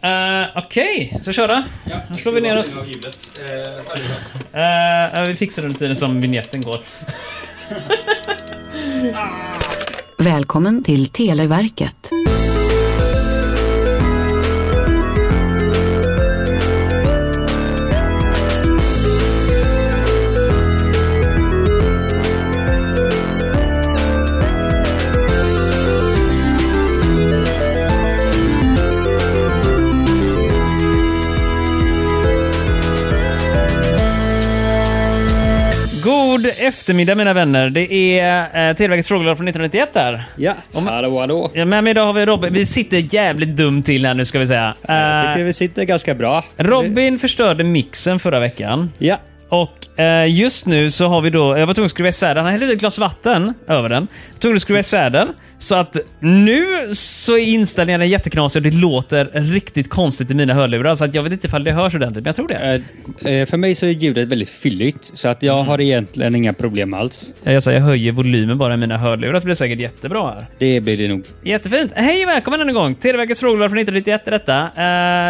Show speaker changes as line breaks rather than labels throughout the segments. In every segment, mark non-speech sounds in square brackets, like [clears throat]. Eh, Okej, så köra.
Ja,
Nu slår vi ner oss.
Av hjulet. Eh, allihopa.
Eh, eh, vi fixar det under tiden som vignetten går.
Välkommen till Televerket.
God eftermiddag mina vänner. Det är eh, Televerkets frågelåda från 1991 där.
Ja,
Hallå, hallå.
Ja, med mig idag har vi Robin. Vi sitter jävligt dumt till här nu ska vi säga.
jag
Eh,
tycker vi sitter ganska bra.
Robin förstörde mixen förra veckan.
Ja,
Och eh, just nu så har vi då, jag var tvungen att skruva isär den, han hällde ett glas vatten över den. Jag var tvungen att skruva isär den. Så att nu så är inställningarna jätteknasiga och det låter riktigt konstigt i mina hörlurar. Så att jag vet inte ifall det hörs ordentligt, men jag tror det.
eh, eh, för mig så är ljudet väldigt fylligt, så att jag har egentligen inga problem alls.
Jag, jag, jag höjer volymen bara i mina hörlurar, det blir säkert jättebra här.
Det blir det nog.
Jättefint! Hej och välkommen ännu en gång! Televerkets frågelåda från 1991 är detta.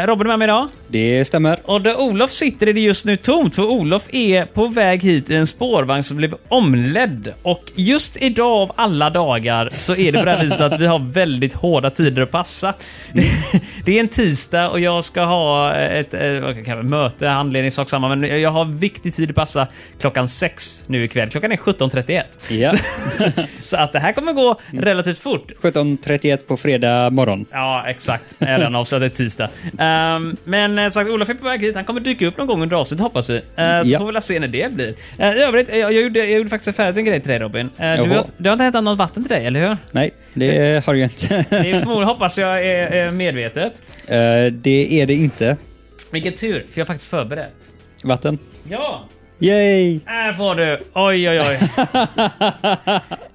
Eh, Robin är med mig idag.
Det stämmer.
Och där Olof sitter är det just nu tomt, för Olof är på väg hit i en spårvagn som blev omledd. Och just idag av alla dagar så är det på det [laughs] här viset att vi har väldigt hårda tider att passa. [laughs] Det är en tisdag och jag ska ha ett eh, vad kan jag kalla det, möte, handledning, sak samma, men jag har viktig tid att passa klockan sex nu ikväll. Klockan är 17.31. [laughs]
Ja.
Så att det här kommer gå relativt fort.
17.31 på fredag morgon.
Ja, exakt. Jag har Redan avslöjat tisdag. Ehm, men eh, sagt, Olof är på väg hit. Han kommer dyka upp någon gång under avsnittet hoppas vi. Eh, så
Ja.
får vi väl se när det blir. Eh, I övrigt, eh, jag, jag, gjorde, jag gjorde faktiskt färdigt en grej till dig Robin. Eh, du,
Jaha.
har, du har inte hämtat något vatten till dig, eller hur?
Nej, det har
[laughs]
jag inte.
Det är förmodligen, hoppas jag är, är medvetet.
Eh, det är det inte.
Vilken tur, för jag har faktiskt förberett.
Vatten.
Ja!
Yay!
Här får du! Oj, oj,
[laughs]
oj.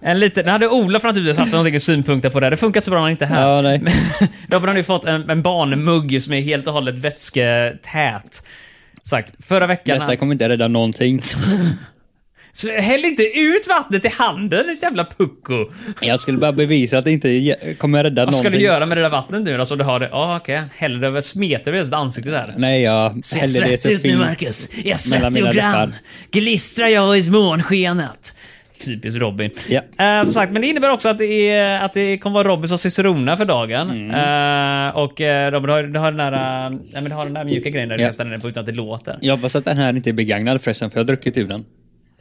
En liten, nu hade Olof naturligtvis haft några synpunkter på det. här. Det funkar så bra när han inte är här.
Ja, nej.
Men [laughs] Robin har nu fått en, en barnmugg som är helt och hållet vätsketät. Sagt, förra veckan...
Detta kommer inte rädda någonting.
Så häll inte ut vattnet i handen, ditt jävla pucko!
Jag skulle bara bevisa att det inte ge- kommer rädda
Vad ska
någonting.
du göra med det där vattnet nu då? Så du har det... Ja, okej. Häller det över, smeter över ditt ansikte så här.
Nej, jag häller det så
svettig ut nu,
fint
Marcus. Jag är
mellan
svettig
mina
och grann.
läppar.
Glistrar jag i månskenet. Typiskt Robin.
Ja.
Eh, som sagt, men det innebär också att det, är, att det kommer vara Robin som cicerona för dagen. Eh, och eh, Robin, du har, du, har den där, eh, nej, men du har den där mjuka grejen där du
Ja.
kan ställa den på utan att det låter.
Jag hoppas att den här inte är begagnad förresten, för jag har druckit ur den.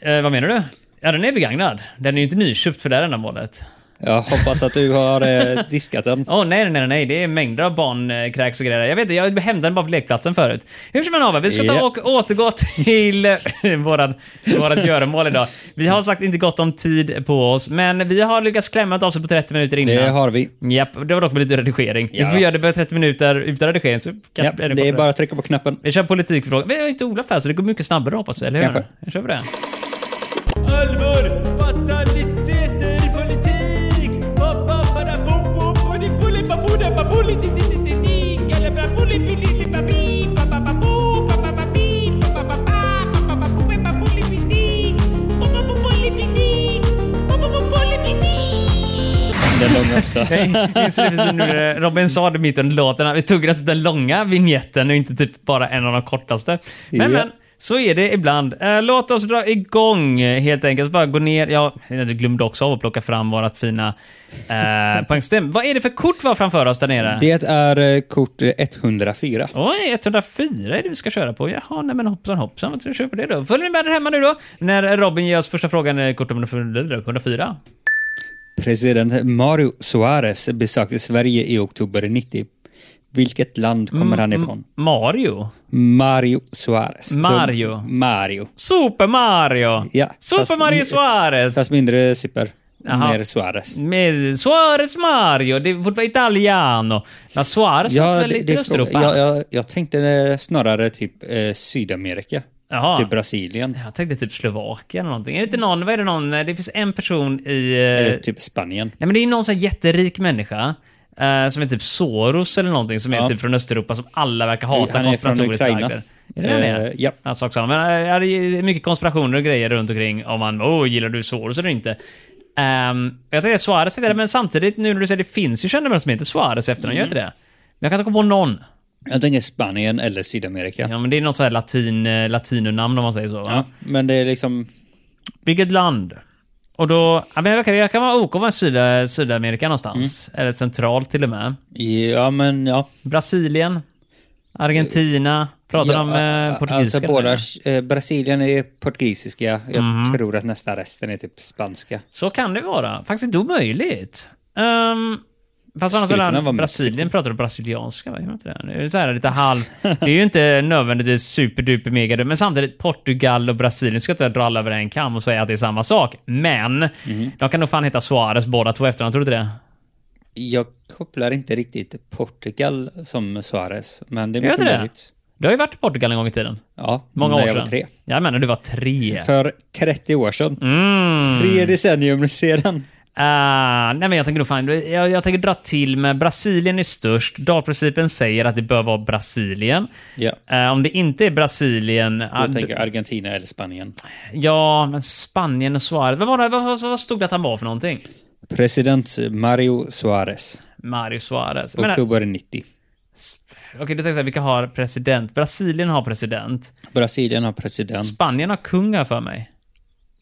Eh, vad menar du? Ja, den är begagnad. Den är ju inte nyköpt för det här ändamålet.
Jag hoppas att du har
[laughs]
eh, diskat den.
Åh nej, nej, nej, nej, det är mängder av barnkräks och grejer. Jag vet inte, jag hämtade den bara på lekplatsen förut. Hur som helst, vi ska ta
Ja.
och återgå till eh, [laughs] våran, vårat göromål idag. Vi har sagt inte gott om tid på oss, men vi har lyckats klämma ett avsnitt på 30 minuter innan.
Det har vi.
Japp, det var dock med lite redigering. Vi
Ja.
får göra det på 30 minuter utan redigering. Så kanske
Ja,
blir
det är
kortare.
bara att trycka på knappen.
Vi kör politikfrågan. Vi har inte Olof här, så det går mycket snabbare hoppas vi, eller hur?
Kanske.
Nu kör vi det. Allvar, fataliteter, politik! Pappa, para, bom, bom, poli, poli, papuda, papuli, ti, ti, ti, ti, ti, kalabra, poli, pili, li, papi, pappa, papu, pappa, papi, pappa, pappa, pappa, papu, pe, papuli, piti, pappa, papuli, piti, pappa, papuli, piti.
Den långa också.
Minns du precis nu, eh, Robin sa det mitt under låten, att vi tog alltså den långa vignetten och inte typ bara en av de kortaste. Men
Ja.
men, så är det ibland. Eh, Låt oss dra igång eh, helt enkelt. Bara gå ner. Jag jag glömde också av att plocka fram vårat fina eh, poängsystem. Vad är det för kort vi har framför oss där nere?
[laughs] Det är eh, kort eh, 104.
Oj, 104 är det vi ska köra på. Jaha, nej men hoppsan hoppsan. Vad tror du kör på det då? Följer ni med där hemma nu då? När Robin ger oss första frågan i kort nummer 104.
President Mario Suarez besökte Sverige i oktober 90. Vilket land
Mm,
kommer han ifrån?
Mario?
Mario Suarez. Så-
Mario.
Mario.
Super Mario!
Ja,
Super
fast-
Mario Suarez!
Fast mindre super.
Jaha.
Mer Suarez.
Med Suarez Mario, det var italiano. Men Suarez var väl lite i
fråga,
Östeuropa?
jag, jag, jag tänkte eh, snarare typ eh, Sydamerika.
Jaha.
Typ Brasilien.
Jag tänkte typ Slovakien eller någonting. Är det inte någon, vad är det någon, det finns en person i... eh,
Eller typ Spanien.
Nej men det är någon sån här jätterik människa. eh, som är typ Soros eller någonting som är
Ja.
typ från Östeuropa som alla verkar hata.
Han är från
konspiratoriskt
Ukraina.
lagd. Är det det?
Eh, ja.
Ja, sak samma. Men eh, ja, det är mycket konspirationer och grejer runt omkring om man, åh, gillar du Soros eller inte? Um, jag tänkte
Mm.
Suarez är det, men samtidigt nu när du säger det finns ju kända människor som heter Suarez efter honom, gör inte det? Men jag kan inte komma på någon.
Jag tänker Spanien eller Sydamerika. Ja.
Ja, men det är något så här latin, eh, latinonamn om man säger så. Va?
men det är liksom...
Vilket land? Och då, ja, men jag, kan, jag kan vara OK med Syda, Sydamerika någonstans.
Mm.
Eller centralt till och med.
Ja, men ja.
Brasilien, Argentina. Pratar de
ja,
eh, portugisiska?
Alltså båda... Eh, Brasilien är portugisiska. Jag
Mhm.
tror att nästan resten är typ spanska.
Så kan det vara. Faktiskt inte omöjligt. Um, fast annars
Skulle kunna
Brasilien,
vara Mexiko.
Brasilien pratar brasilianska, va? Gör de inte det? Det är så här lite halv... Det är ju inte nödvändigtvis superduper mega men samtidigt Portugal och Brasilien ska jag inte dra alla över en kam och säga att det är samma sak. Men
Mhm.
de kan nog fan heta Suarez båda två efter tror du inte det?
Jag kopplar inte riktigt Portugal som Suarez, men det är
Gör
mycket
du det?
möjligt.
Du har ju varit i Portugal en gång i tiden.
Ja,
Många
när
år
jag
sedan.
var tre.
Jag menar, du var tre.
För 30 år sedan.
Mm.
Tre decennium sedan.
Ah, nej men jag tänker nog fan, jag, jag tänker dra till med Brasilien är störst. Dalprincipen säger att det bör vara Brasilien.
Ja.
Eh, om det inte är Brasilien... ah,
Jag tänker Argentina eller Spanien.
ja, men Spanien och Suarez. Vad, var det, vad, vad, vad stod det att han var för någonting?
President Mario Suarez.
Mario Suarez. Jag menar,
Oktober 90.
Okej, du tänker jag så här, vilka har president? Brasilien har president.
Brasilien har president.
Spanien har kung har jag för mig.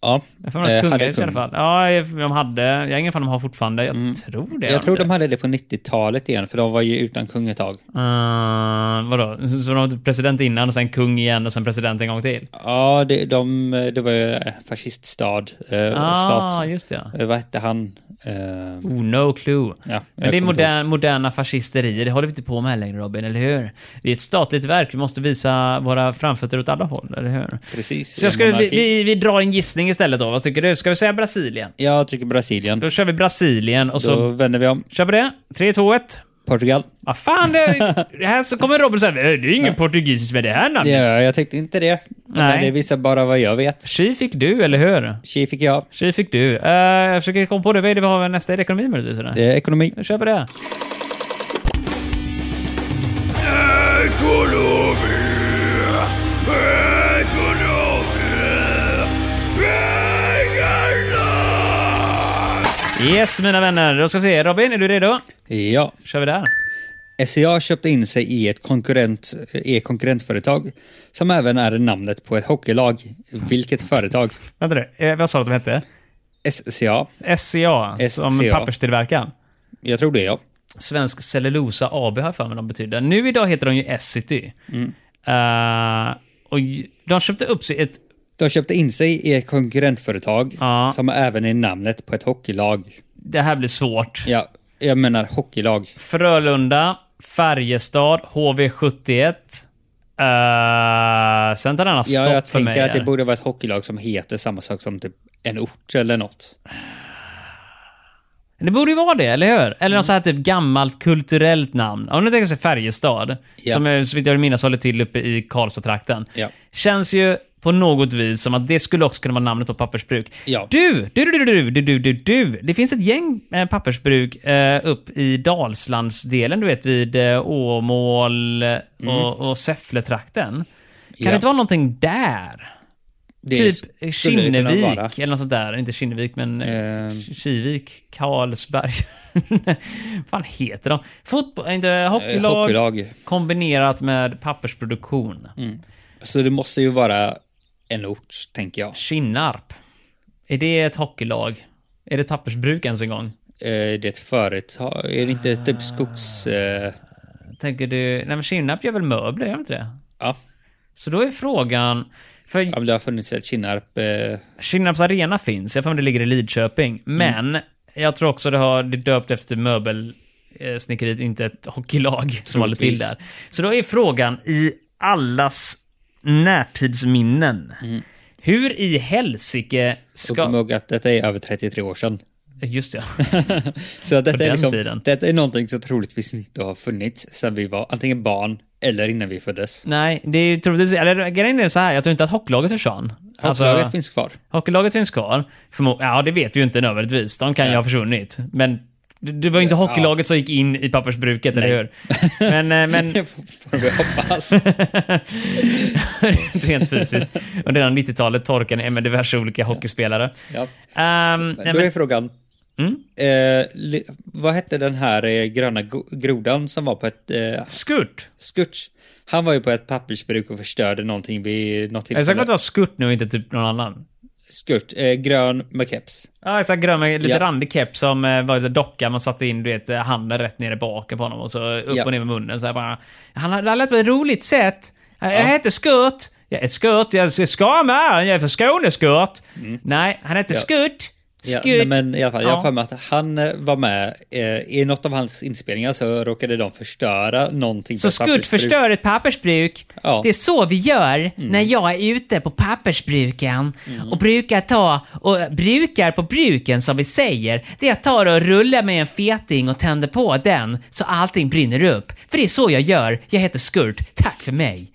Ja,
Jag får eh,
eh,
kungar
hade
i alla
kung. Mm.
fall. Ja, jag- de hade. Jag har ingen fan om de har fortfarande. Jag tror det.
Jag tror de hade det på 90-talet igen, för de var ju utan kung ett tag.
Uh, vadå? Så de var president innan och sen kung igen och sen president en gång till?
Ja, det, de, det var ju fasciststad. Eh,
Ah,
stat.
just det.
Eh, vad hette han? Eh,
Oh, no clue.
ja,
Men det är
jag kommer inte ihåg.
modern, moderna fascisterier, det håller vi inte på med längre Robin, eller hur? Vi är ett statligt verk, vi måste visa våra framfötter åt alla håll, eller hur?
Precis.
Så jag skulle, vi,
monarki.
vi, vi drar en gissning istället då, vad tycker du? Ska vi säga Brasilien?
Jag tycker Brasilien.
Då kör vi Brasilien och så
Då vänder vi om.
kör vi det. 3, 2, 1.
Portugal.
Vad fan, det, det här så kommer Robin säga, det är ju ingen portugisisk med det här namnet.
Ja, jag tyckte inte det.
Nej.
Men det visar bara vad jag vet.
Tji fick du, eller hur?
Tji fick jag.
Tji fick du. Eh, jag försöker komma på det, vad är det vi har nästa? Är det ekonomi möjligtvis? eller?
Det är Eh, ekonomi.
Nu kör vi det. Yes, mina vänner. Då ska vi se. Robin, är du redo?
Ja.
kör vi där.
SCA köpte in sig i ett konkurrent, eh, konkurrentföretag som även är namnet på ett hockeylag. Vilket företag?
Vänta nu. Eh, vad sa du att de hette?
SCA.
SCA, som
SCA.
papperstillverkaren.
Jag tror det, ja.
Svensk Cellulosa AB har jag för mig de betyder. Nu idag heter de ju Essity. Eh, och j- de köpte upp sig ett...
De köpte in sig i ett konkurrentföretag
Ja.
som även är namnet på ett hockeylag.
Det här blir svårt.
Ja, jag menar hockeylag.
Frölunda, Färjestad, HV71. Uh, sen tar den här stopp
Ja, jag
för mig.
tänker att det
här.
borde vara ett hockeylag som heter samma sak som typ en ort eller något.
det borde ju vara det, eller hur? Eller
Mm.
något så här typ gammalt kulturellt namn. Om du tänker sig Färjestad,
Ja.
som är, så vitt jag minns håller till uppe i Karlstad-trakten.
Ja.
Känns ju på något vis som att det skulle också kunna vara namnet på pappersbruk.
Ja.
Du, du, du, du, du, du, du, du. Det finns ett gäng eh, pappersbruk eh, upp i Dalslandsdelen, du vet vid eh, Åmål eh, och, och Säffletrakten. Kan
Mm. Ja.
det inte vara någonting där?
Det skulle
typ
det kunna vara.
Kinnevik eller något sånt där. Inte Kinnevik, men eh.
Eh.
Kivik, Karlsberg. Vad [laughs] fan heter de? Fotboll, inte
Eh,
hockeylag,
Hockeylag.
kombinerat med pappersproduktion.
Så det måste ju vara en ort, tänker jag.
Kinnarp. Är det ett hockeylag? Är det ett pappersbruk ens en gång?
Eh, Det är ett företag. Är det inte typ skogs... eh,
Tänker du, nej men Kinnarp gör väl möbler, gör de inte det?
Ja,
Så då är frågan, för
ja, men det har funnits ett Kinnarp. eh,
Kinnarps arena finns, jag har för mig det ligger i Lidköping.
Mm.
Men jag tror också det har det är döpt efter möbelsnickeriet, inte ett hockeylag som håller till där. Så då är frågan i allas närtidsminnen.
Mm.
Hur i helsike
Och kom
ska...
ihåg att detta är över 33 år sedan.
Just det. [laughs]
Så att detta
den
är, liksom,
tiden.
detta är någonting som troligtvis inte har funnits sedan vi var antingen barn eller innan vi föddes.
Nej, det är ju troligtvis... Eller grejen är så här, jag tror inte att hockeylaget försvann. Alltså-
Hockeylaget finns kvar.
Hockeylaget finns kvar. Förmo- ja, det vet vi ju inte nödvändigtvis. De kan ju ha försvunnit. Men det, det var ju inte hockeylaget som gick in i pappersbruket, eller hur? Men, eh,
[laughs]
men
Det får
[laughs]
vi hoppas.
rent fysiskt. Under redan 90-talet torkade ni med diverse olika hockeyspelare.
Ja.
Ehm, nej,
Då är
men, Mm?
frågan, Eh, li, vad hette den här eh, gröna go- grodan som var på ett eh,
Skurt.
skuts? Han var ju på ett pappersbruk och förstörde någonting vid något
Jag är säker på att
tillfälle.
det var Skurt nu och inte typ någon annan.
Skurt, eh, grön med keps.
Ja, exakt. Grön med lite
Ja.
randig keps som eh, var en docka. Man satte in du vet, eh, handen rätt nere baken på honom och så upp
Ja.
och ner med munnen. Så här bara, han hade det lät på ett roligt sätt. Eh, Jag heter Skurt. Jag är Skurt. Jag är skånare. Jag är från Skåne, Skurt. Nej, han heter Skurt.
Mm. Ja,
Skurt.
nej, men i alla fall, jag
Ja.
har för mig att han eh, var med eh, i något av hans inspelningar så råkade de förstöra någonting. på
Så
ett
Skurt
pappersbruk.
förstör ett pappersbruk.
Ja. Mm.
Det är så vi gör när jag är ute på pappersbruken och brukar ta, och brukar på bruken som vi säger, det är att ta och rulla med en feting och tänder på den så allting brinner upp. För det är så jag gör. Jag heter Skurt. Tack för mig.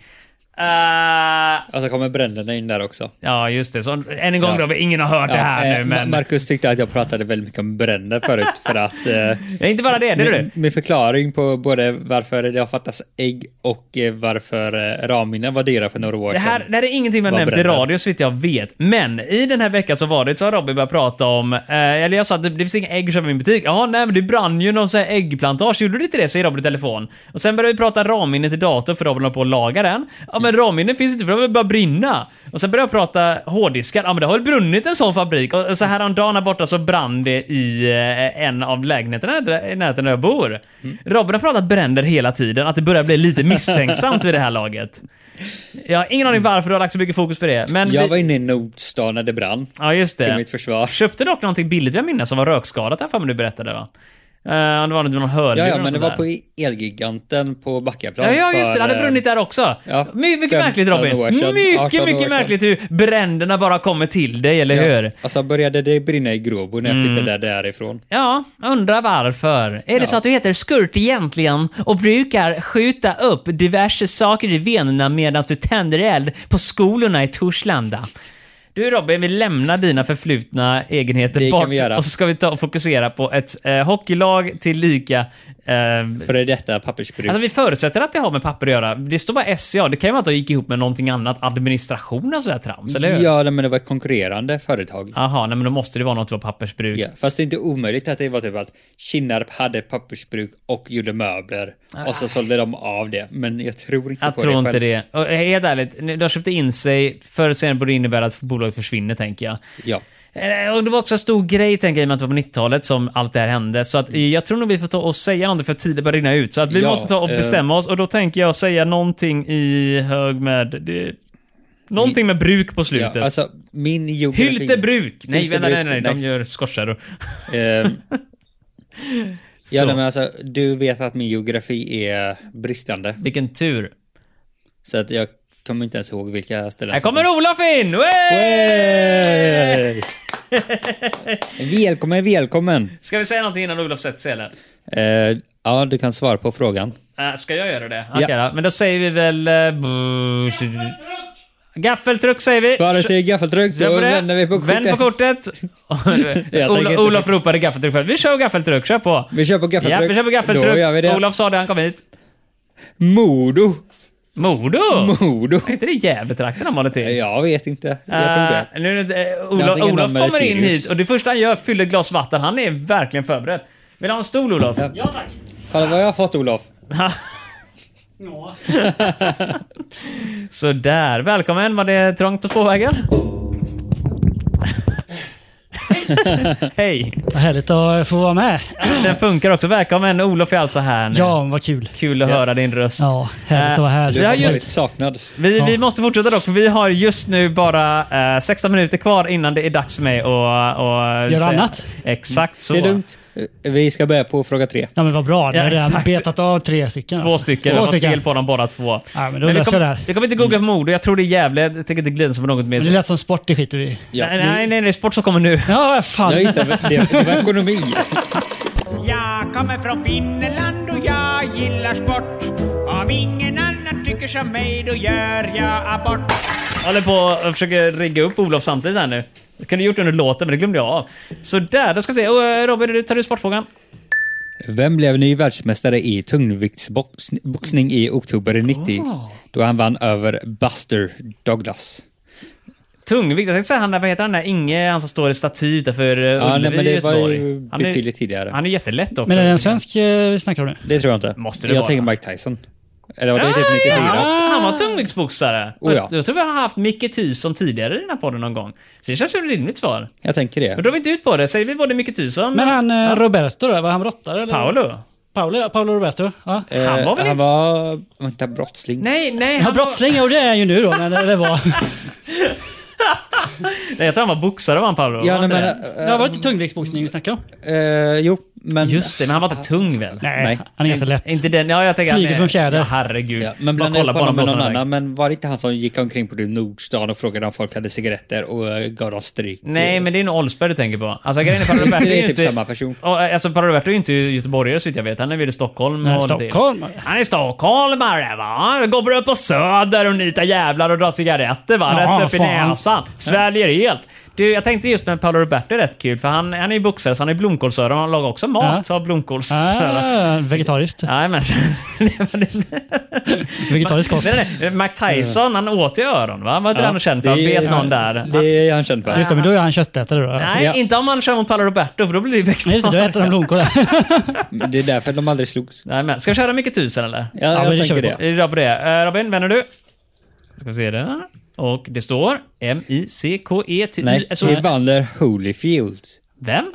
Eh,
Alltså kommer bränderna in där också.
ja, just det. Så, än en gång
Ja.
då, ingen har hört det här
eh,
nu,
Ma-
men...
Marcus tyckte att jag pratade väldigt mycket om bränder förut för att eh,
Ja, inte bara [laughs] det, det är du.
Min, min förklaring på både varför det har fattats ägg och eh, varför eh, Raminen var dyra för några år
Det här,
sedan.
det här är ingenting man
Vad
nämnt i
bränner?
radio så vitt jag vet. Men i den här veckan så var det så har Robin började prata om, eh, eller jag sa att det, det finns inga ägg att köpa i min butik. Ja, nej men det brann ju någon sån här äggplantage. Gjorde du inte det? Säger Robin i telefon. Och sen började vi prata ramminne till dator för Robin håller på att laga den. Ja men ramminne finns inte för de bara brinna. Och sen började jag prata hårddiskar. Ja men det har väl brunnit en sån fabrik. Och och så häromdagen här borta så brann det i eh, en av lägenheterna där- i närheten där jag bor. Robin har pratat bränder hela tiden, att det börjar bli lite misstänksamt vid det här laget. Jag har ingen aning varför du har lagt så mycket fokus på det. Men
Jag
vi...
var inne i Nordstan när det brann.
Ja, just
Till
det.
mitt försvar.
Köpte dock någonting billigt, jag minns, som var rökskadat här för mig du berättade va? Uh, det var något med någon hörlur
Ja, ja
eller
men det
något
var
sånt
på
där.
Elgiganten på Backaplan.
Ja, ja, just det. Det hade
för, eh,
brunnit där också.
ja,
My- mycket
15
märkligt
år
Robin.
sedan, 18
Mycket,
år
mycket
sedan.
märkligt hur bränderna bara kommer till dig, eller hur?
Ja. Alltså började det brinna i Gråbo när jag
Mm.
flyttade där därifrån.
Ja, undrar varför. Är det så att du heter Skurt egentligen och brukar skjuta upp diverse saker i venerna medan du tänder eld på skolorna i Torslanda? Du Robin, vi lämnar dina förflutna egenheter
Det kan
bort
vi göra.
och så ska vi ta och fokusera på ett eh, hockeylag till lika... Eh,
Före detta pappersbruk.
alltså vi förutsätter att det har med papper att göra. Det står bara SCA. Det kan ju vara att de gick ihop med någonting annat. Administration och sådär trams, eller hur?
ja, nej, men det var ett konkurrerande företag.
Jaha, nej men då måste det vara något typ av pappersbruk.
Ja, fast det är inte omöjligt att det var typ att Kinnarp hade pappersbruk och gjorde möbler. Och så sålde de av det. Men jag tror inte
Ah. Jag
på
tror
det
inte
själv.
det. Och eh, helt ärligt, de köpte in sig. Förr eller senare borde det innebära att bolaget försvinner, tänker jag.
Ja.
Eh, Och det var också en stor grej, tänker jag, i och med att det var på 90-talet som allt det här hände. Så att eh, jag tror nog vi får ta och säga någonting för tiden börjar rinna ut. Så att vi
Ja,
måste ta och
eh.
bestämma oss. Och då tänker jag säga någonting i hög med... Det, någonting med bruk på slutet.
Ja, alltså, min geografi...
Hyltebruk! Nej, vänta, nej, nej,
Hyltebruk,
De gör skottkärror.
[laughs]
[laughs]
Ehm,
Så.
ja, nej, men alltså, du vet att min geografi är bristande.
Vilken tur.
Så att jag kommer inte ens ihåg vilka ställen
Här
som
kommer
finns.
Olof in! Wey!
Hey! Välkommen, välkommen!
Ska vi säga någonting innan Olof sätter sig, eller?
Eh, ja, du kan svara på frågan.
Äh, ska jag göra det? Okej då. Men då säger vi väl... eh, bu- Gaffeltruck säger vi.
Svaret är gaffeltryck,
Kör
då
på det.
vänder vi på kortet.
Vänd på kortet.
[laughs] tänker
Olo-
inte
Olof
faktiskt-
ropade gaffeltruck först. Vi kör gaffeltruck, kör på.
Vi kör på gaffeltryck.
Ja, vi kör på gaffeltruck.
Då gör vi det.
Olof sa det, han kom hit.
Modo.
Modo!
Modo.
Är inte det Gävletrakten han håller till?
Jag vet inte. Jag tror det.
Eh, nu, eh,
Jag
Olof,
tänker
Olof
namn med
kommer in
Sirius.
hit och det första han gör fyller ett glas vatten. Han är verkligen förberedd. Vill du ha en stol Olof?
Ja, tack. Kolla vad jag har fått, Olof.
[laughs] Sådär, välkommen. Var det trångt på spårvägen? [laughs] Hej!
Vad härligt att få vara med.
Den funkar också. Välkommen. Olof är alltså här nu.
Ja, vad kul.
Kul att höra din röst.
Ja, härligt att vara här.
Vi
Du
har
har
just
varit saknad.
Vi,
Ja.
vi måste fortsätta dock, för vi har just nu bara eh, 16 minuter kvar innan det är dags för mig att... att säga-
annat.
Exakt så.
Det är lugnt. Eh, Vi ska börja på fråga tre.
Ja, men vad bra. Ni
Ja,
har redan
exakt.
betat av tre stycken.
Två
alltså.
stycken. jag
Två
har
stycken.
fel på dem båda två.
Ja, men då
vi,
löser
kommer-
jag det här.
vi kommer inte googla på mord och jag tror det är Gävle. Jag tänker inte glida på något mer.
Men Det lät som sport, det skiter vi i.
Ja.
nej, nej, nej, det är sport som kommer nu.
Ja, fan.
Ja, just det. Det, det var ekonomi.
Jag kommer från Finland och jag gillar sport. Om ingen annan tycker som mig då gör jag abort.
Jag håller på och försöker rigga upp Olof samtidigt här nu. Det kunde jag gjort under låten, men det glömde jag av. Så där, då ska vi se. Och, eh, Robin, du tar du sportfrågan?
Vem blev ny världsmästare i tungviktsboxning
Ah.
i oktober 90? Då han vann över Buster Douglas.
Tungvikt. Jag tänkte säga han, där- vad heter han där? Inge, han som står i staty utanför eh,
Ja, nej,
Ullevi
men
i
det var
Göteborg.
ju
Han är-
betydligt tidigare.
Han är jättelätt också.
Men är det en svensk eh, vi snackar om nu?
Det tror jag inte.
Måste det
jag
vara.
tänker Mike Tyson. Eller var det
Ah,
typ 94?
ja, han- han var tungviktsboxare.
Oh, ja.
Jag tror vi har haft Micke Tyson tidigare i den här podden någon gång. Så det känns ju ett rimligt svar.
Jag tänker
Men
det.
då är vi inte ut på det. Säger vi både Micke Tyson
Men han eh, Roberto då? Var han brottare? Eller?
Paolo?
Paolo, ja, Paolo Roberto. Ja.
han var väl
Eh, Han
inte-
var... Vänta, brottsling?
Nej, nej.
Ja, brottsling, jo det är han ju nu då, men eller var.
Var, nej, jag tror han var boxare, var han Paolo?
Ja,
var
nej,
han
men...
inte det?
Det var
Äh,
inte tungviktsboxning vi snackade om?
äh, jo, men...
Just det, men han var inte tung väl?
Nej,
Nej.
han är ganska lätt.
Inte den, ja jag tänker...
Flyger
han är-
som en fjäder.
Ja, herregud.
Ja, men
Bara
blandade
kolla
ihop honom med
blåsorna
någon
där.
annan. Men var det inte han som gick omkring på typ Nordstan och frågade om folk hade cigaretter och äh, gav dem stryk?
Nej, men det är nog Oldsberg du tänker på. Alltså grejen är
[laughs]
Paolo Roberto
Det är
ju
typ
inte-
samma person.
Ja, Alltså Paolo Roberto är ju inte göteborgare så vitt jag vet. Han är väl i Stockholm.
Nej,
och-
stockholmare.
Han är stockholmare va. Går upp på Söder och nitar jävlar och drar cigaretter va.
Ja,
Rätt upp i
fan.
näsan. Sväljer helt. Du, jag tänkte just med Paolo Roberto är rätt kul för han, han är ju boxare så han är blomkålsöron. Han lagar också
Ja.
mat av blomkålsöron.
Ah,
[laughs]
vegetariskt.
Jajamän.
Vegetarisk kost.
Nej, nej, nej. Mac Tyson, han åt ju öron va? Var inte det han känd för? Han
Det är-
bet någon där.
Det är han känd för.
Just det, men då är han köttätare då.
Nej,
Ja.
inte om man kör mot Paolo Roberto för då blir det ju
Men Just det, då
växter.
äter han blomkål [laughs] där.
Det är därför de aldrig slogs.
Nej, men. Ska jag köra mycket tusen eller?
Ja,
men
jag
det kör
tänker
vi
det.
Är du bra på det? Eh, Robin, vänder du? Ska vi se där. Och det står M-I-C-K-E E till Alltså,
Nej, Evander Holyfield.
Vem?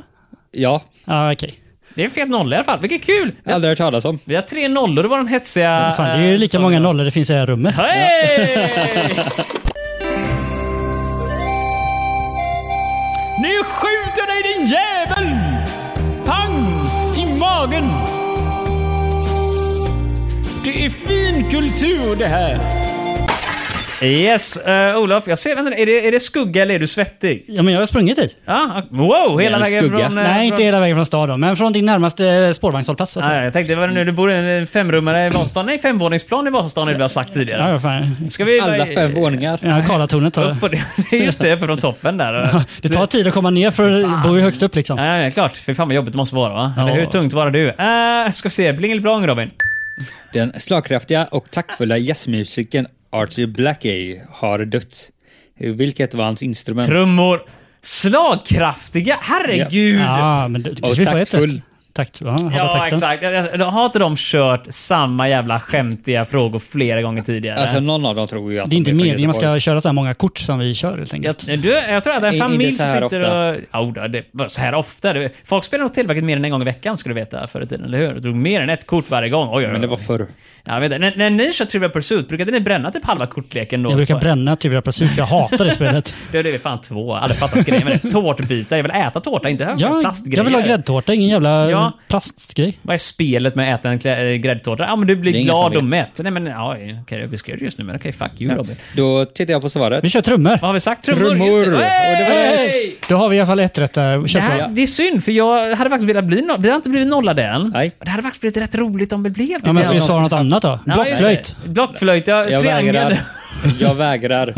Ja,
Ja, okej.
Det är en fet nolla i alla fall. Vilket kul!
aldrig hört talas om.
Vi har tre nollor i vår hetsiga...
Fan, det är ju
eh,
lika
sång.
många nollor det finns i det här rummet.
Hej!
Nu skjuter dig din jävel! Pang! I magen! Det är fin kultur det här.
Yes, uh, Olof. Jag ser, vänta, är, det, är det skugga eller är du svettig?
Ja, men jag har sprungit hit.
Ja, ah, wow! Hela
en
vägen
skugga.
från... eh,
Nej,
från...
inte hela vägen från staden, men från din närmaste spårvagnshållplats. så att säga.
Ah, jag tänkte, vad är det nu? Du bor i en femrummare i Vasastan? Nej, femvåningsplan i Vasastan är det vi har sagt
Ja,
tidigare.
vad fan.
Ska vi...
Alla fem våningar.
Ja, Karlatornet tar
Upp på det. [laughs] Just det, från toppen där.
[laughs] Det tar tid att komma ner för du bor ju högst upp liksom.
Ja, ja, klart. Fy fan vad jobbigt det måste vara, va? Eller
Ja.
hur tungt var det du? Uh, ska vi se. Blingelblong, Robin.
Den slagkraftiga och taktfulla jazzmusikern Archie Blackie har dött. Vilket var hans instrument?
Trummor. Slagkraftiga. Herregud!
Ja, men det, det kanske vi får ett
taktfull.
rätt. Takt, ja, han tar
Ja,
takten.
exakt. Jag- jag- jag- Har inte de kört samma jävla skämtiga frågor flera gånger tidigare?
Alltså någon av dem tror ju att
Det är
de
inte
från
meningen man
Göteborg.
ska köra så här många kort som vi kör helt
jag,
enkelt.
du, jag tror att det är en
I- inte
familj
så
som
här
sitter
ofta.
och... Ja, då, det var så här ofta. Det, folk spelade nog tillverket mer än en gång i veckan skulle du veta förr i tiden, eller hur? Det drog mer än ett kort varje gång. Oj, oj, oj.
Men det var förr.
Jag vet, inte. när, när ni kör Trivial Pursuit, brukade ni bränna typ halva kortleken då?
Jag brukar bränna Trivial Pursuit, för jag hatar det
[laughs]
spelet.
Det är det fan två. Jag har aldrig fattat grejen med det. Tårtbitar. Jag vill äta tårta, inte ha
Ja,
plastgrejer.
jag vill ha gräddtårta, ingen jävla
Ja.
plastgrej.
Vad är spelet med att äta en klä- äh, gräddtårta? Ja, men du blir
Det är ingen som
glad och
vet.
mätt. Nej, men ja, okej, jag beskrev det just nu, men okej, fuck you Robin.
Då tittar jag på svaret.
Vi kör trummor.
Vad har vi sagt? Trummor!
Trummor!
Just det.
Och det var
Hey!
rätt.
Då har vi i alla fall ett rätt där.
Det,
Kör på.
här, det är synd, för jag hade faktiskt velat bli no- Vi har inte blivit nollade än.
Nej.
Det hade faktiskt blivit rätt roligt om det blev det.
Ja, men ska vi
något
svara något
som-
annat då?
Ja, just det.
Blockflöjt.
Blockflöjt, ja.
Jag
triangel.
vägrar.
[laughs]
Jag vägrar.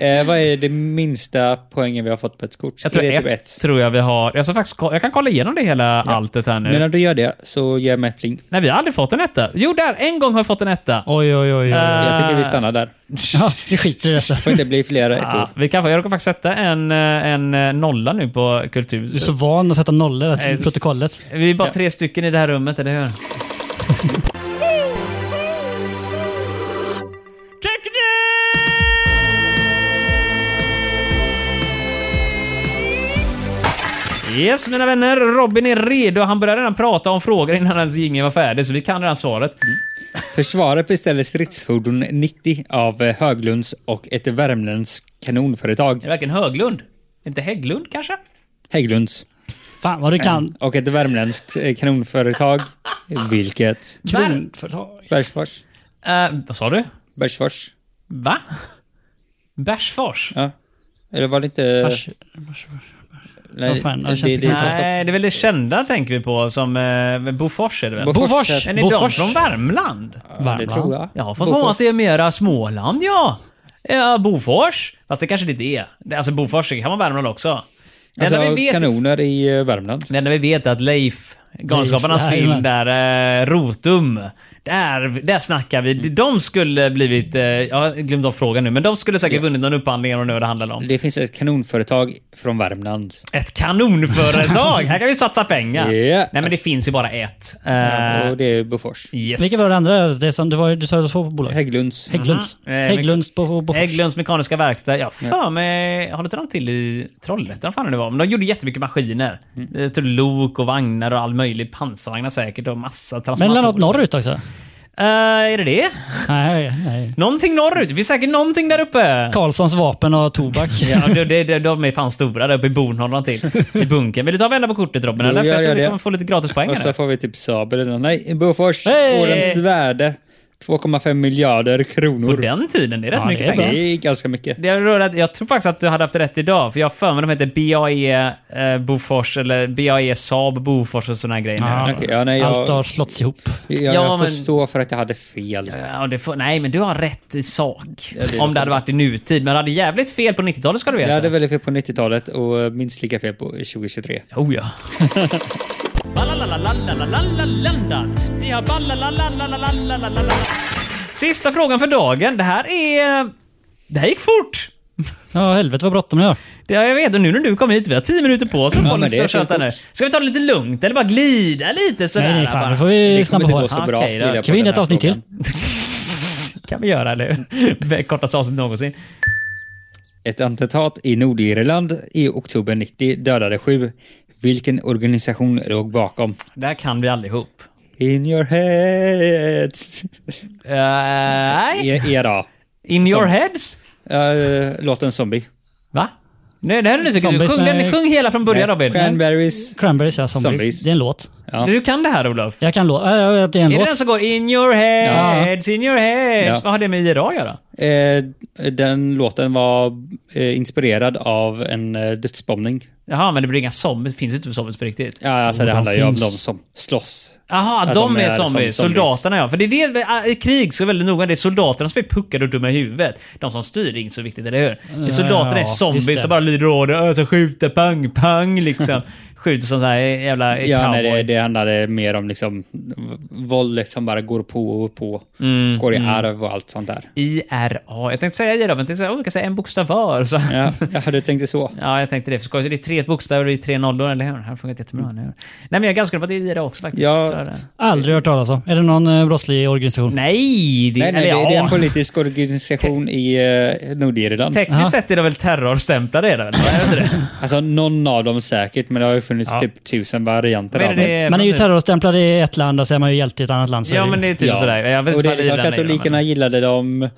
eh, vad är det minsta poängen vi har fått på ett kort?
Jag tror
är det
ett,
typ ett?
tror jag vi har. Jag, ska faktiskt, ko- jag kan kolla igenom det hela alltet här nu.
Men när du gör det så ger jag mig ett pling.
Nej, vi har aldrig fått en etta. Jo, där! En gång har jag fått en etta.
Oj, oj, oj. oj.
Eh,
Jag tycker vi stannar där.
Ja, vi skiter i detta.
Det får inte bli fler ett
Ja,
ord.
vi kan, få- jag råkar faktiskt sätta en, eh, en eh, nolla nu på kultur.
Du är så van att sätta nollor
Nej.
i protokollet.
Vi är bara tre stycken i det här rummet, eller hur? Yes, mina vänner. Robin är redo. Han började redan prata om frågor innan hans jingel var färdig, så vi kan redan svaret.
Försvaret beställer stridsfordon 90 av eh, Höglunds och ett värmländskt kanonföretag.
Det är verkligen Höglund. Inte Hägglund, kanske?
Hägglunds.
Fan vad du kan.
Och ett värmländskt eh, kanonföretag. Vilket?
Kronföretag.
Bergsfors.
Eh, vad sa du?
Bergsfors.
Va? Bärsfors?
Ja. Eller var det inte...
Vars-
Nej,
vad fan,
det, det, det, det,
Nej, det är väl det kända tänker vi på som eh, Bofors är det väl?
Bofors.
Bofors.
Är ni de
Bofors.
från Värmland?
det
Värmland.
tror jag.
Ja, fast Bofors. att det är mera Småland ja. Ja, Bofors. Fast det kanske det inte är. Det- Alltså Bofors det kan vara Värmland också. Det enda,
Alltså,
vi vet,
kanoner i eh, Värmland.
det enda vi vet är att Leif, Galenskaparnas
Leif,
film
jajamän.
där, eh, Rotum. Där, där snackar vi.
Mm.
De skulle blivit... eh, Jag har glömt av frågan nu, men de skulle säkert vunnit någon upphandling om det nu det handlade om.
Det finns ett kanonföretag från Värmland.
Ett kanonföretag! Här kan vi satsa
[laughs]
pengar.
Ja.
Nej, men det finns ju bara ett. Eh,
och det är Bofors.
yes.
Vilka var det andra? Det som, det var, du sa att det var två bolag.
Hägglunds.
Hägglunds.
Mhm. Eh,
Hägglunds på, på
Hägglunds Mekaniska Verkstad. Ja, för mig... Har inte de till i Trollhättan? fan det var? Men de gjorde jättemycket maskiner. Mm. Till lok och vagnar och all möjlig. Pansarvagnar säkert och massa
Men
transformatorer.
lade något norrut också?
Eh, är det det?
Nej, nej.
Någonting norrut. Det finns säkert någonting där uppe.
Karlssons vapen och tobak.
[laughs] Ja, de, de, de, de är fan stora där uppe i Bornholm till. I bunkern. Vill du ta och vända på kortet Robin?
Jo,
eller? För
gör
jag tror
jag
vi
det.
kommer få lite gratispoäng
Och så
här.
får vi typ Saab eller något. Nej, Bofors.
Hey!
Årens värde. 2,5 miljarder
På
kronor.
den tiden, det är rätt
Ja,
mycket
det är
pengar.
Det är ganska mycket.
Det jag, rör att jag tror faktiskt att du hade haft rätt idag, för jag har för mig de heter BAE eh, Bofors, eller BAE Saab Bofors och såna här grejer.
Ja,
nu.
Okej, ja, nej, jag-
Allt har slåtts ihop.
Jag,
Ja,
jag får
men-
stå för att jag hade fel.
Ja, Eh, det får, nej, men du har rätt i sak.
Ja, det är
om det hade
det.
varit i nutid. Men du hade jävligt fel på 90-talet ska du veta.
Jag hade väldigt fel på 90-talet och minst lika fel på 2023.
Oh [laughs] ja. Ballalalalalalalalalandat. Det har ballalalalalalalala. Sista frågan för dagen. Det här är... Det här gick fort.
Ja, helvete vad bråttom jag har.
Det har jag vet. Och nu när du kom hit, vi har 10 minuter på oss.
Ja,
Ja,
men det är
ska,
fint.
nu. ska vi ta det lite lugnt eller bara glida lite sådär?
Nej, nej, fan.
bara?
Nu får
Det kommer
vi snabba
inte gå
på. här.
så
Ah,
bra.
okej då.
vill jag
Kan vi
på
hinna
den
ett
här
avsnitt till?
frågan.
kan vi göra [laughs] eller hur? Kortaste avsnitt någonsin.
Ett attentat i Nordirland i oktober 90 dödade sju. Vilken organisation låg bakom?
Det här kan vi allihop.
In your
[laughs]
head.
Eh, Nej.
E- era.
In your
Som-
heads?
Uh, låten Zombie.
Va? Nej, det här är nyfiken
Zombies
Sjung, den,
med-
sjung hela från början Robin.
Cranberries.
Cranberries, ja. Zombies.
Zombies.
Det är en låt.
Ja.
Du kan det här Olof?
Jag kan låt. Jag vet att det är
Är
en
det
låt.
den som går in your heads, in your heads?
Ja.
Vad har det med IRA att göra?
Eh, den låten var eh, inspirerad av en eh, dödsbombning.
Jaha, men det blir inga zombies. Finns det inte zombies på riktigt?
Ja, alltså
Jo,
det
de
handlar ju om
finns.
de som slåss.
Jaha,
Ja,
de, är,
de är
zombies.
som zombies.
Soldaterna ja. För det är det, äh, i krig så är det väldigt noga. Det är soldaterna som är puckade och dumma i huvudet. De som styr är inte så viktigt, eller hur? Det är soldaterna
Ja,
är zombies
just det.
som bara lyder order. Ö, Så skjuter, pang, pang
[laughs]
liksom. skjuter som så här eh, jävla
Ja, nej,
cowboy.
det, det handlade mer om liksom v- våldet som bara går på och på.
Mm,
går i arv och allt sånt där.
IRA. Jag tänkte säga IRA, men jag tänkte säga, oh, vi kan säga en bokstav var. Så.
Ja, ja du
[laughs]
tänkte så.
Ja, jag tänkte det för skoj. Så det är tre bokstäver och det är tre nollor, eller hur? Det här har funkat jättebra. eller hur? Nej, men jag är ganska säker på att det är det också faktiskt.
Mm. Ja.
Så är det.
Aldrig hört talas om. Är det någon eh, brottslig organisation?
Nej! Det,
Nej, nej, det,
eller,
det är
ja.
en politisk organisation i eh, Nordirland.
Tekniskt sett är det väl terrorstämplade, är det väl? Är det inte det?
Alltså någon av dem säkert, men det har ju funnits
Ja.
typ tusen varianter
Men
av
är det-
det.
Man är ju
men-
terrorstämplad i ett land och så är man ju hjälte i ett annat land. Så
Ja,
är det ju-
men det är typ sådär. Jag vet
och
inte vad
det är liksom
Irland är,
katolikerna
men-
gillade dem,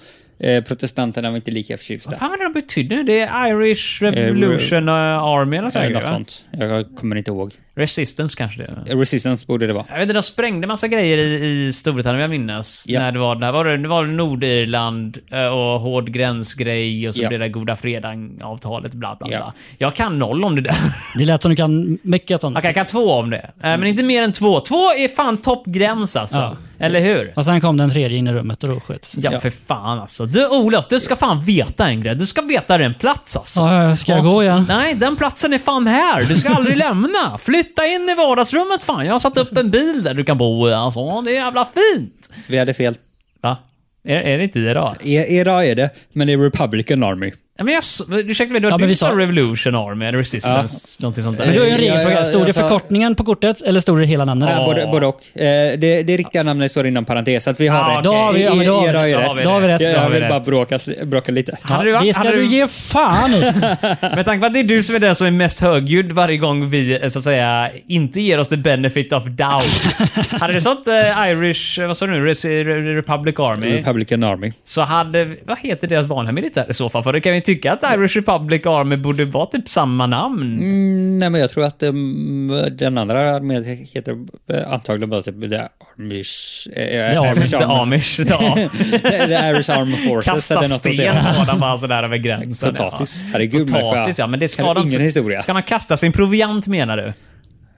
eh, protestanterna var inte lika
Vad
förtjusta.
fan var det de betydde nu? Det är Irish Revolution eh, Army eller
Eh,
sådär,
Något
va?
sånt. Jag kommer inte ihåg.
Resistance kanske det är.
Resistance borde det vara.
Jag vet inte, de sprängde massa grejer i, i Storbritannien, vill jag minnas.
Ja.
När det var den här, var det, det var Nordirland eh, och hård gränsgrej och så
Ja.
blev det där goda fredag-avtalet, bla bla bla.
Ja.
Jag kan noll om det där. [laughs]
Det lät som du kan mycket om det.
Okej, jag kan två om det. Eh, Men inte mer än två. Två är fan toppgräns alltså.
Ja.
Eller hur?
Och sen kom den tredje in i rummet och då sköt
Ja, för fan alltså. Du Olof, du ska fan veta en grej. Du ska veta den plats alltså.
Ja, ska jag gå igen?
Nej, den platsen är fan här. Du ska aldrig [laughs] lämna. Flytta in i vardagsrummet fan. Jag har satt upp en bil där du kan bo. Alltså, det är jävla fint.
Vi hade fel.
Va? Är, är det inte det då?
I- Era är det, men det är Republican Army.
Ja, men jag, s- ursäkta mig, det var
Ja,
du
men vi
sa
sa-
Revolution Army, eller Resistance, någonting sånt
Men då är
där.
ju en
Ja, ja,
regelfråga.
ja,
Stod det
alltså-
förkortningen på kortet eller stod det hela namnet?
Ja, Äh, både, både och. Eh, det, det riktiga namnet står inom parentes, så att vi har
Ja,
rätt.
Då har vi, ja, men då har vi
Era har ju
Då
rätt.
har vi
Då har vi
rätt.
rätt.
Jag,
Då har
jag
vi
vill
rätt.
bara bråka, bråka lite.
Hade du-
Ja, det ska
hade
du
du-
ge fan i.
Med tanke på att [laughs] det är du som är den som är mest högljudd varje gång vi, eh, så att säga, inte ger oss the benefit of doubt. hade det stått eh, Irish, eh, vad sa du nu, Res- Re- Republic Army,
Republican Army.
så hade, vad heter deras vanliga militär i så fall? För det kan vi tycka att Irish Republic Army borde vara typ samma namn.
Mm, nej, men jag tror att um, den andra armén heter eh, antagligen bara typ The Amish... Eh,
Ja,
Amish
The
Arm.
Amish. Ja.
[laughs] the, the Irish Armed Forces
Kasta
eller något åt det
sten
hållet.
på dem bara sådär över gränsen.
Potatis. Herregud, människa.
Potatis, ja. Men det
Kan
skadar
ingen
inte-
historia.
Ska man kasta sin proviant menar du?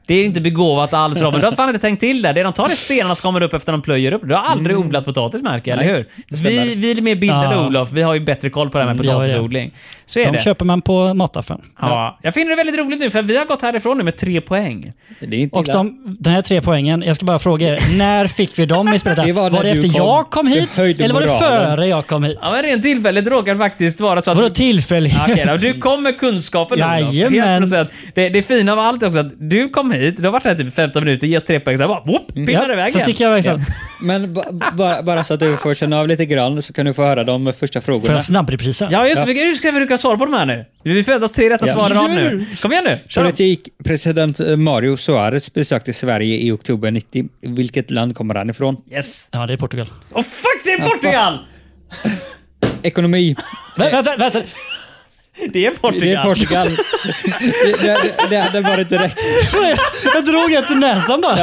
Det är inte begåvat alls Robin. Du har fan inte tänkt till där. Det är de tar de stenarna som kommer upp efter de plöjer upp. Du har aldrig
Mm.
odlat potatis märker jag, eller hur? Vi, vi är mer bildade
Ja. Mm,
Olof. Vi har ju bättre koll på det här med
Ja, ja.
potatisodling. Så är
De
det.
köper man på mataffären.
Ja. Jag finner det väldigt roligt nu för vi har gått härifrån nu med tre poäng.
Det är inte
Och
illa.
de, den här tre poängen, jag ska bara fråga er, när fick vi dem i
[laughs]
spelet?
Det var när
det
du
efter
kom.
jag kom hit?
Det höjde
Eller var det
moralen.
före jag kom hit?
Ja, men rent tillfälligt råkar det faktiskt vara så att...
Vadå tillfälligt?
Ja, Okej då, du kom med kunskapen Olof.
Jajamän.
Helt procent. Det, det fina av allt är också att du kom hit, du har varit här typ 15 minuter, ger oss tre poäng, så här bara whoop, pillar iväg
Mm, så
igen.
sticker jag iväg sen.
Men ba- bara, bara så att du får känna av lite grann så kan du få höra de första
Får
frågorna.
jag snabbreprisen?
Ja just det, Vi- hur ska vi lyckas svara på de här nu? Vi förväntas tre rätta
Ja.
svar i rad nu. Kom igen nu, kör dem.
Politik. President eh, Mario Suarez besökte Sverige i oktober 90. Vilket land kommer han ifrån?
Yes.
Ja, det är Portugal.
Åh fuck, det är Portugal!
Ekonomi.
Vä vänta, vänta!
Det är Portugal.
Det är Portugal. det, det, det hade varit rätt.
[laughs] Jag drog ett i näsan bara.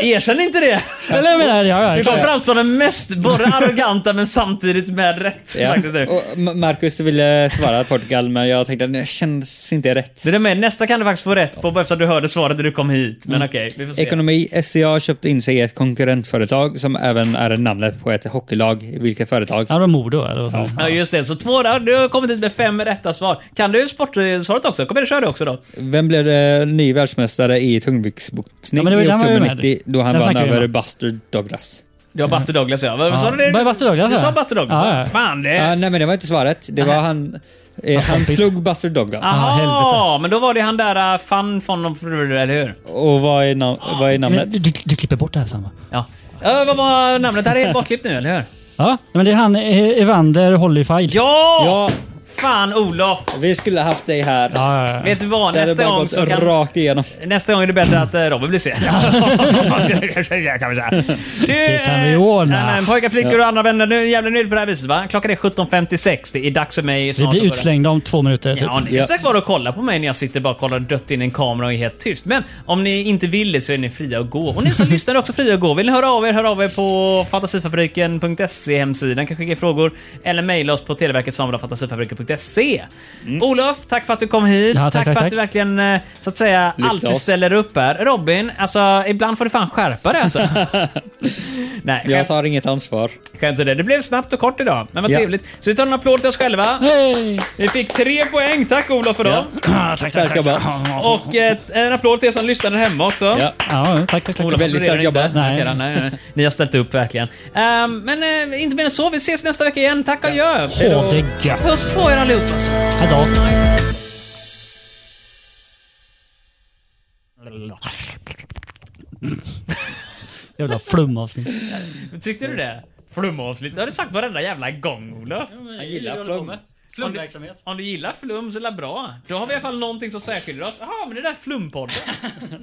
Erkänn inte det.
Eller jag menar, ja,
Du
ja,
kom
klart.
fram som den mest både arroganta men samtidigt med rätt.
Ja.
faktiskt nu.
Och Ma- Marcus ville svara Portugal, men jag tänkte att det känns inte rätt.
Det är med. Nästa kan du faktiskt få rätt på eftersom du hörde svaret när du kom hit. Men okej, vi får se.
Ekonomi. SCA köpte in sig i ett konkurrentföretag som även är namnet på ett hockeylag. Vilket företag?
Ja, det var Modo eller vad
Ja
ja.
just det, så två, ja, du har kommit hit med fem rätta svar. Kan du sportsvaret också? Kom igen, kör det också då.
Vem blev eh, ny världsmästare i
Ja,
tungviktsboxning
men det var-
i
den var ju
oktober
med.
90 då han
Den
vann
snackar vi
över
om.
Buster Douglas?
Det var Buster Douglas ja. Vad sa
Ja.
du? det?
Var det Buster Douglas,
Du
ja?
sa Buster Douglas?
Ja, ja.
Fan det...
Eh.
Ah, nej, men det var inte svaret. Det var han... Eh, han
kompis.
slog Buster Douglas.
Ah.
Aha,
helvete.
men då var det han där äh, fan von... Eller hur?
Och vad är, nam- vad är
Ah, Men
namnet?
du, du klipper bort det här sen va?
Ja. Äh, vad var namnet? Det här är helt bortklippt nu, eller hur?
Ja, men det är han eh, Evander Holyfield.
Ja!
Ja,
Fan Olof!
vi skulle haft dig här.
Ja, ja, ja.
Vet du vad?
Det hade
Nästa
bara
gång,
gått
så kan,
rakt igenom.
nästa gång är det bättre att eh, Robin blir sen. Det [laughs] kan vi säga. Du,
Det kan vi
eh,
ordna.
nej, men Pojkar, flickor och andra vänner, nu är det jävla nöjd på det här viset va? Klockan är 17.56. Det är dags för mig
Vi
snart
blir
att börja-
utslängda om två minuter typ.
Ja, ni
Ja.
kan ställa och kolla på mig när jag sitter bara och kollar dött in i en kamera och är helt tyst. Men om ni inte vill det så är ni fria att gå. Och ni som lyssnar är också fria att gå. Vill ni höra av er, hör av er på fantasifabriken.se E, hemsidan. Kan skicka er frågor eller mejla oss på televerket fantasifabriken.se. E. Olof, tack för att du kom hit.
Ja, tack, tack,
för att
tack.
du verkligen eh, så att säga
Lyfte
alltid
oss.
ställer upp här. Robin, alltså ibland får du fan skärpa dig alltså. Nej,
Jag
skämt,
tar inget ansvar.
skämt åsido. Det blev snabbt och kort idag, men vad
Ja.
trevligt. Så vi tar en applåd till oss själva.
Hej! [clears throat]
Vi fick tre poäng. Tack Olof för dem.
Ah, tack,
Starkt jobbat.
Och eh, en applåd till er som lyssnade hemma också.
Ja.
Ja, tack, tack, tack.
Olof
Väldigt
applåderar inte.
starkt jobbat.
Nej. nej, nej. Ni har ställt upp verkligen. Ehm, men eh, inte mer än så. Vi ses nästa vecka igen. Tack och adjö.
Åh, det är gött.
Puss på er alltså. allihopa.
Hejdå. Jävla flumavsnitt.
Tyckte du det? Flumavsnitt. Det har du sagt varenda jävla gång Olof.
Han gillar flum.
Flumverksamhet. Om du gillar flum så är det bra. Då har vi i alla fall någonting som särskiljer oss. Jaha, men det där är flumpodden.